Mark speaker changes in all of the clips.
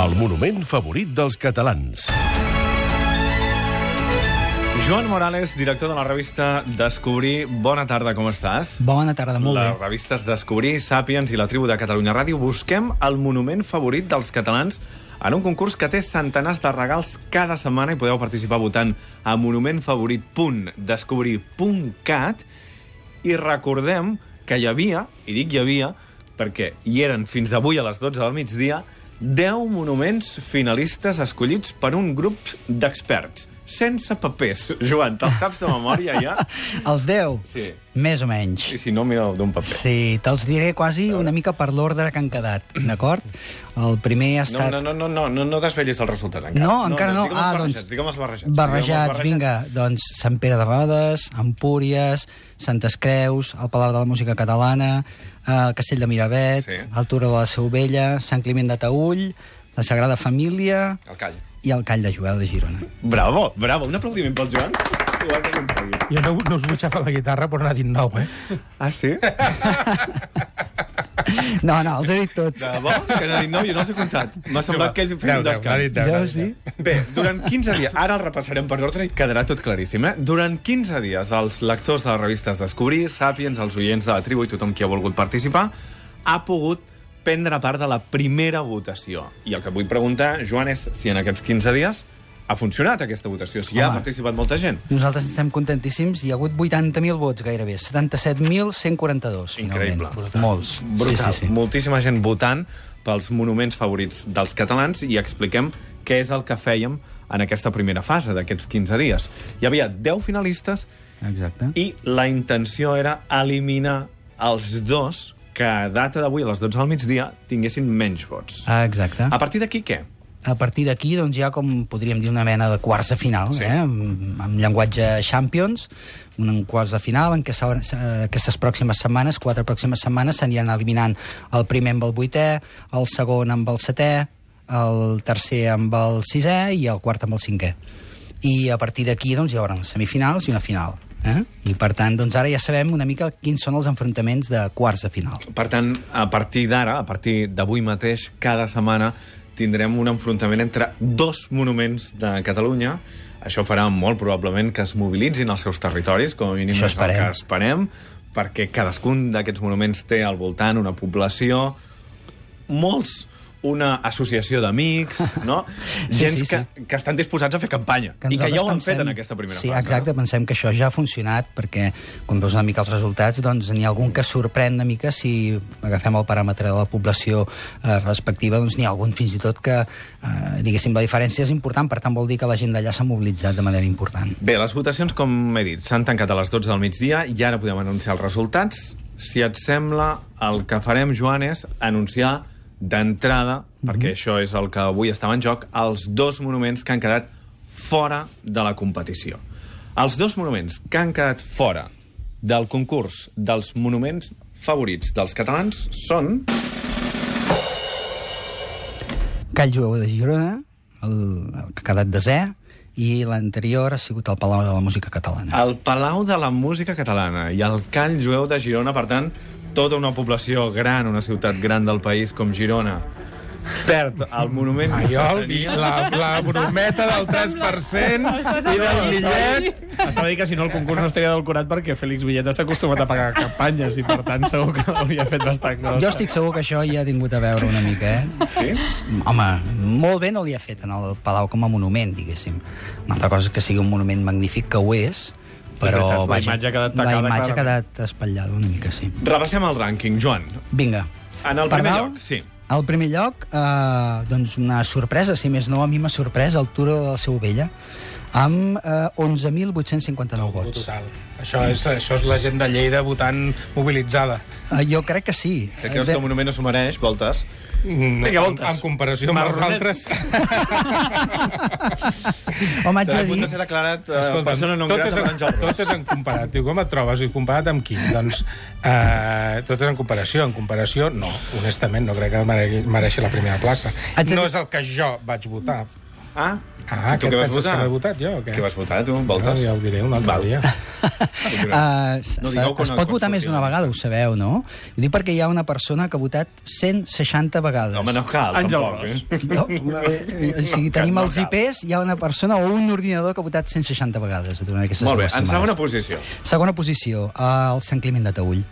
Speaker 1: El monument favorit dels catalans.
Speaker 2: Joan Morales, director de la revista Descobrir. Bona tarda, com estàs?
Speaker 3: Bona tarda, molt
Speaker 2: La
Speaker 3: bé.
Speaker 2: revista és Descobrir, Sàpiens i la tribu de Catalunya Ràdio. Busquem el monument favorit dels catalans en un concurs que té centenars de regals cada setmana i podeu participar votant a monumentfavorit.descobrir.cat i recordem que hi havia, i dic hi havia, perquè hi eren fins avui a les 12 del migdia, 10 monuments finalistes escollits per un grup d'experts, sense papers. Joan, te'ls saps de memòria ja?
Speaker 3: Els 10?
Speaker 2: Sí.
Speaker 3: Més o menys.
Speaker 2: I si no, mira d'un paper.
Speaker 3: Sí, te'ls diré quasi una mica per l'ordre que han quedat, d'acord? El primer ha
Speaker 2: No,
Speaker 3: estat...
Speaker 2: no, no, no, no, no, no desvetllis el resultat encara.
Speaker 3: No, encara no.
Speaker 2: Digue'm els
Speaker 3: Ah,
Speaker 2: barrejats,
Speaker 3: doncs...
Speaker 2: digue'm els barrejats.
Speaker 3: Barrejats,
Speaker 2: Digue'm els
Speaker 3: vinga. Doncs Sant Pere de Rodes, Empúries, Santes Creus, el Palau de la Música Catalana, eh, el Castell de Miravet,
Speaker 2: Sí.
Speaker 3: el Turó de la Seu Vella, Sant Climent de Taüll, la Sagrada Família
Speaker 2: El call.
Speaker 3: i el Call de Jueu de Girona.
Speaker 2: Bravo, bravo. Un aplaudiment pel Joan. Igual que un aplaudiment.
Speaker 4: Jo no, no us vull xafar la guitarra, però n'ha dit nou, eh?
Speaker 2: Ah, sí?
Speaker 3: No, no, els he dit tots.
Speaker 2: De bo? Que n'ha dit nou, jo no els he comptat. M'ha semblat que ells feien
Speaker 4: Deu,
Speaker 2: un
Speaker 4: deu, n'ha
Speaker 2: descans.
Speaker 4: dit deu, n'ha dit
Speaker 3: sí?
Speaker 2: Bé, durant 15 dies... Ara el repassarem per ordre i quedarà tot claríssim, eh? Durant 15 dies, els lectors de les revistes Descobrir, Sàpiens, els oients de la tribu i tothom qui ha volgut participar ha pogut prendre part de la primera votació. I el que et vull preguntar, Joan, és si en aquests 15 dies ha funcionat aquesta votació, si hi ha
Speaker 3: Home.
Speaker 2: participat molta gent.
Speaker 3: Nosaltres estem contentíssims. Hi ha hagut 80.000 vots, gairebé. 77.142,
Speaker 2: Increïble.
Speaker 3: finalment. Molts.
Speaker 2: Brutal.
Speaker 3: Sí, sí, sí.
Speaker 2: Moltíssima gent votant pels monuments favorits dels catalans i expliquem què és el que fèiem en aquesta primera fase d'aquests 15 dies. Hi havia 10 finalistes
Speaker 3: Exacte. I...
Speaker 2: i la intenció era eliminar els dos que a data d'avui, a les 12 del migdia, tinguessin menys vots.
Speaker 3: Ah. Exacte.
Speaker 2: A partir d'aquí, què?
Speaker 3: A partir d'aquí, doncs, hi ha com podríem dir una mena de quarts de final, sí. eh? amb, amb llenguatge Champions, un quarts de final en què s'hauran- eh, aquestes pròximes setmanes, quatre pròximes setmanes, s'aniran eliminant el primer amb el vuitè, el segon amb el setè, el tercer amb el sisè i el quart amb el cinquè. I a partir d'aquí doncs, hi haurà unes semifinals i una final. Eh? I per tant, doncs ara ja sabem una mica quins són els enfrontaments de quarts de final.
Speaker 2: Per tant, a partir d'ara, a partir d'avui mateix, cada setmana tindrem un enfrontament entre dos monuments de Catalunya. Això farà molt probablement que es mobilitzin als seus territoris, com a mínim
Speaker 3: Això
Speaker 2: és el que
Speaker 3: esperem.
Speaker 2: esperem, perquè cadascun d'aquests monuments té al voltant una població, molts una associació d'amics, no?
Speaker 3: Sí,
Speaker 2: Gens
Speaker 3: sí, sí.
Speaker 2: Que, que estan disposats a fer campanya i que
Speaker 3: nosaltres
Speaker 2: ja ho han fet en aquesta primera
Speaker 3: sí,
Speaker 2: fase.
Speaker 3: exacte,
Speaker 2: no?
Speaker 3: pensem que això ja ha funcionat perquè quan veus una mica els resultats doncs n'hi ha algun que sorprèn una mica si agafem el paràmetre de la població eh, respectiva, doncs n'hi ha algun fins i tot que, eh, diguéssim, la diferència és important, per tant vol dir que la gent d'allà s'ha mobilitzat de manera important.
Speaker 2: Bé, les votacions, com he dit, s'han tancat a les 12 del migdia i ara podem anunciar els resultats. Si et sembla, el que farem, Joan, és anunciar d'entrada, perquè això és el que avui estava en joc, els dos monuments que han quedat fora de la competició. Els dos monuments que han quedat fora del concurs dels monuments favorits dels catalans són...
Speaker 3: Call Jueu de Girona, el, el que ha quedat desè, i l'anterior ha sigut el Palau de la Música Catalana.
Speaker 2: El Palau de la Música Catalana i el Call Jueu de Girona, per tant, tota una població gran, una ciutat gran del país com Girona, perd el monument...
Speaker 4: Allò, la, la brometa del 3% i del bitllet... Estava a dir que si no el concurs no estaria del curat perquè Fèlix Villet està acostumat a pagar campanyes i per tant segur que hauria fet bastant
Speaker 3: Jo
Speaker 4: gros.
Speaker 3: estic segur que això hi ha tingut a veure una mica, eh?
Speaker 2: Sí?
Speaker 3: Home, molt bé no li ha fet en el Palau com a monument, diguéssim. Una altra cosa és que sigui un monument magnífic, que ho és, però...
Speaker 4: És veritat, la
Speaker 3: vaja,
Speaker 4: imatge ha quedat
Speaker 3: La
Speaker 4: tacada,
Speaker 3: imatge ha
Speaker 4: clarament.
Speaker 3: quedat espatllada una mica, sí.
Speaker 2: Repassem el rànquing, Joan.
Speaker 3: Vinga.
Speaker 2: En el
Speaker 3: Per
Speaker 2: primer
Speaker 3: dalt?
Speaker 2: lloc, sí.
Speaker 3: Al primer lloc, eh, doncs una sorpresa, si més no, a mi m'ha sorprès el Turo de la Seu Vella, amb eh, 11.859 vots.
Speaker 4: Total. Això és, això és la gent de Lleida votant mobilitzada.
Speaker 3: Eh, jo crec que sí.
Speaker 2: Que creus que el monument no s'ho mereix, voltes. Vinga,
Speaker 5: en,
Speaker 2: voltes.
Speaker 5: en comparació amb els
Speaker 2: Marronet.
Speaker 5: altres...
Speaker 3: Home, haig de
Speaker 2: Haig de
Speaker 3: dir...
Speaker 2: ser declarat eh,
Speaker 5: Escolta'm,
Speaker 2: persona non
Speaker 5: totes
Speaker 2: grata per
Speaker 5: en-
Speaker 2: Àngel Ros.
Speaker 5: Totes en comparat. Diu, com et trobes? I comparat amb qui? Doncs eh, totes en comparació. En comparació, no. Honestament, no crec que meregui, mereixi la primera plaça.
Speaker 3: Haig de
Speaker 5: No
Speaker 3: dir-
Speaker 5: és el que jo vaig votar.
Speaker 2: Ah,
Speaker 5: Ah,
Speaker 2: tu
Speaker 5: què
Speaker 2: què vas
Speaker 5: penses
Speaker 2: votar?
Speaker 5: que l'he votat, jo, o què?
Speaker 2: Què vas votar, tu,
Speaker 5: Ah,
Speaker 2: Voltes?
Speaker 5: ja ho diré Ah, un altre
Speaker 2: Val.
Speaker 5: dia.
Speaker 3: Uh,
Speaker 2: No
Speaker 3: no
Speaker 2: digueu que
Speaker 3: es
Speaker 2: no
Speaker 3: pot
Speaker 2: quan
Speaker 3: votar més
Speaker 2: surti
Speaker 3: d'una
Speaker 2: la
Speaker 3: vegada, ho sabeu, no? Ho dic perquè hi ha una persona que ha votat 160 vegades.
Speaker 2: No, home, no cal,
Speaker 4: Àngel
Speaker 2: tampoc.
Speaker 4: Ros.
Speaker 2: Eh?
Speaker 3: No, eh, eh, si
Speaker 2: No, que
Speaker 3: tenim
Speaker 2: no
Speaker 3: els
Speaker 2: cal.
Speaker 3: IPs, hi ha una persona o un ordinador que ha votat 160 vegades durant aquestes
Speaker 2: Molt bé,
Speaker 3: dues
Speaker 2: en
Speaker 3: setmanes.
Speaker 2: segona posició.
Speaker 3: Segona posició, eh, el Sant Climent de Taüll.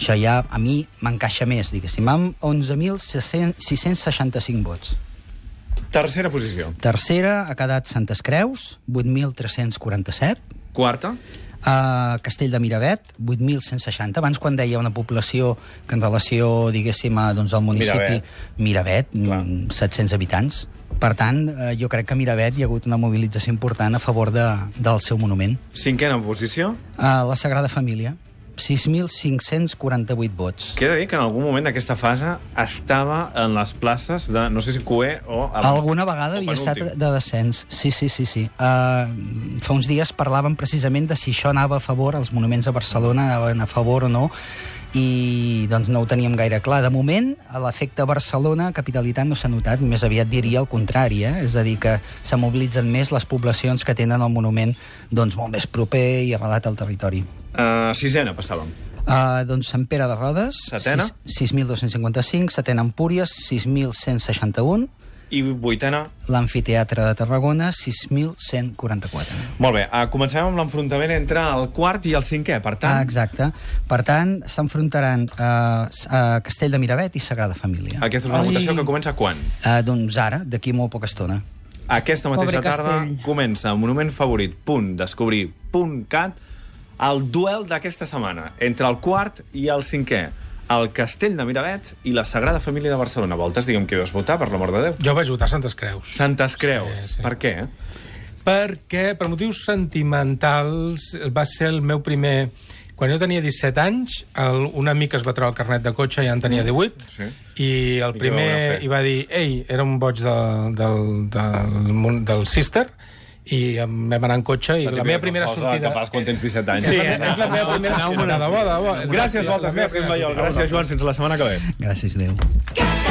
Speaker 3: Això ja a mi m'encaixa més, diguéssim, amb 11.665 vots.
Speaker 2: Tercera posició.
Speaker 3: Tercera ha quedat Santes Creus, 8.347.
Speaker 2: Quarta.
Speaker 3: A Castell de Miravet, 8.160. Abans, quan deia una població que en relació, diguéssim, a, doncs, al municipi... Miravet.
Speaker 2: Clar.
Speaker 3: Miravet, mm, 700 habitants. Per tant, eh, jo crec que a Miravet hi ha hagut una mobilització important a favor de, del seu monument.
Speaker 2: Cinquena posició.
Speaker 3: A la Sagrada Família, 6.548 vots.
Speaker 2: Que he de dir que en algun moment d'aquesta fase estava en les places de, no sé si QE o... a-
Speaker 3: Alguna vegada
Speaker 2: o
Speaker 3: havia estat
Speaker 2: penúltim.
Speaker 3: de descens. Sí, sí, sí. sí. Uh, fa uns dies parlàvem precisament de si això anava a favor, els monuments a Barcelona anaven a favor o no, i doncs no ho teníem gaire clar. De moment, a l'efecte Barcelona, capitalitat, no s'ha notat, més aviat diria el contrari, eh? és a dir, que se mobilitzen més les poblacions que tenen el monument doncs, molt més proper i arrelat al territori.
Speaker 2: Eh, sisena passàvem.
Speaker 3: Uh, doncs Sant Pere de Rodes,
Speaker 2: Setena.
Speaker 3: sis- 6.255, Setena Empúries, 6.161,
Speaker 2: I vuitena.
Speaker 3: l'Amfiteatre de Tarragona, 6.144.
Speaker 2: Molt bé, eh, comencem amb l'enfrontament entre el quart i el cinquè. Per tant,
Speaker 3: Ah, exacte. Per tant, s'enfrontaran eh, s- a Castell de Miravet i Sagrada Família.
Speaker 2: aquesta és una
Speaker 6: Ai.
Speaker 2: votació que comença quan?
Speaker 3: Eh, doncs ara, d'aquí molt poca estona.
Speaker 2: Aquesta mateixa
Speaker 6: Pobre
Speaker 2: tarda
Speaker 6: castell.
Speaker 2: comença Monument Favorit, punt, descobrir, punt, cat, el duel d'aquesta setmana, entre el quart i el cinquè, el Castell de Miravet i la Sagrada Família de Barcelona. Voltes, digue'm què vas votar, per l'amor de Déu.
Speaker 5: Jo vaig votar Santes Creus.
Speaker 2: Santes Creus.
Speaker 5: Sí, sí.
Speaker 2: Per què?
Speaker 5: perquè per motius sentimentals va ser el meu primer... Quan jo tenia 17 anys, el, un amic es va treure el carnet de cotxe, ja en tenia 18,
Speaker 2: Mm. Sí.
Speaker 5: i el
Speaker 2: I què va voler
Speaker 5: primer
Speaker 2: fer?
Speaker 5: i va dir, ei, era un boig de, del, del, món- del Sister, i em vam anar en cotxe, i la, meva primera sortida...
Speaker 2: Que fas quan tens 17 anys.
Speaker 5: Sí, eh? és la meva primera sortida de boda.
Speaker 2: Gràcies, Voltes, gràcies, Maiol, gràcies, Joan, fins la setmana que ve.
Speaker 3: Gràcies, Déu.
Speaker 7: Cafè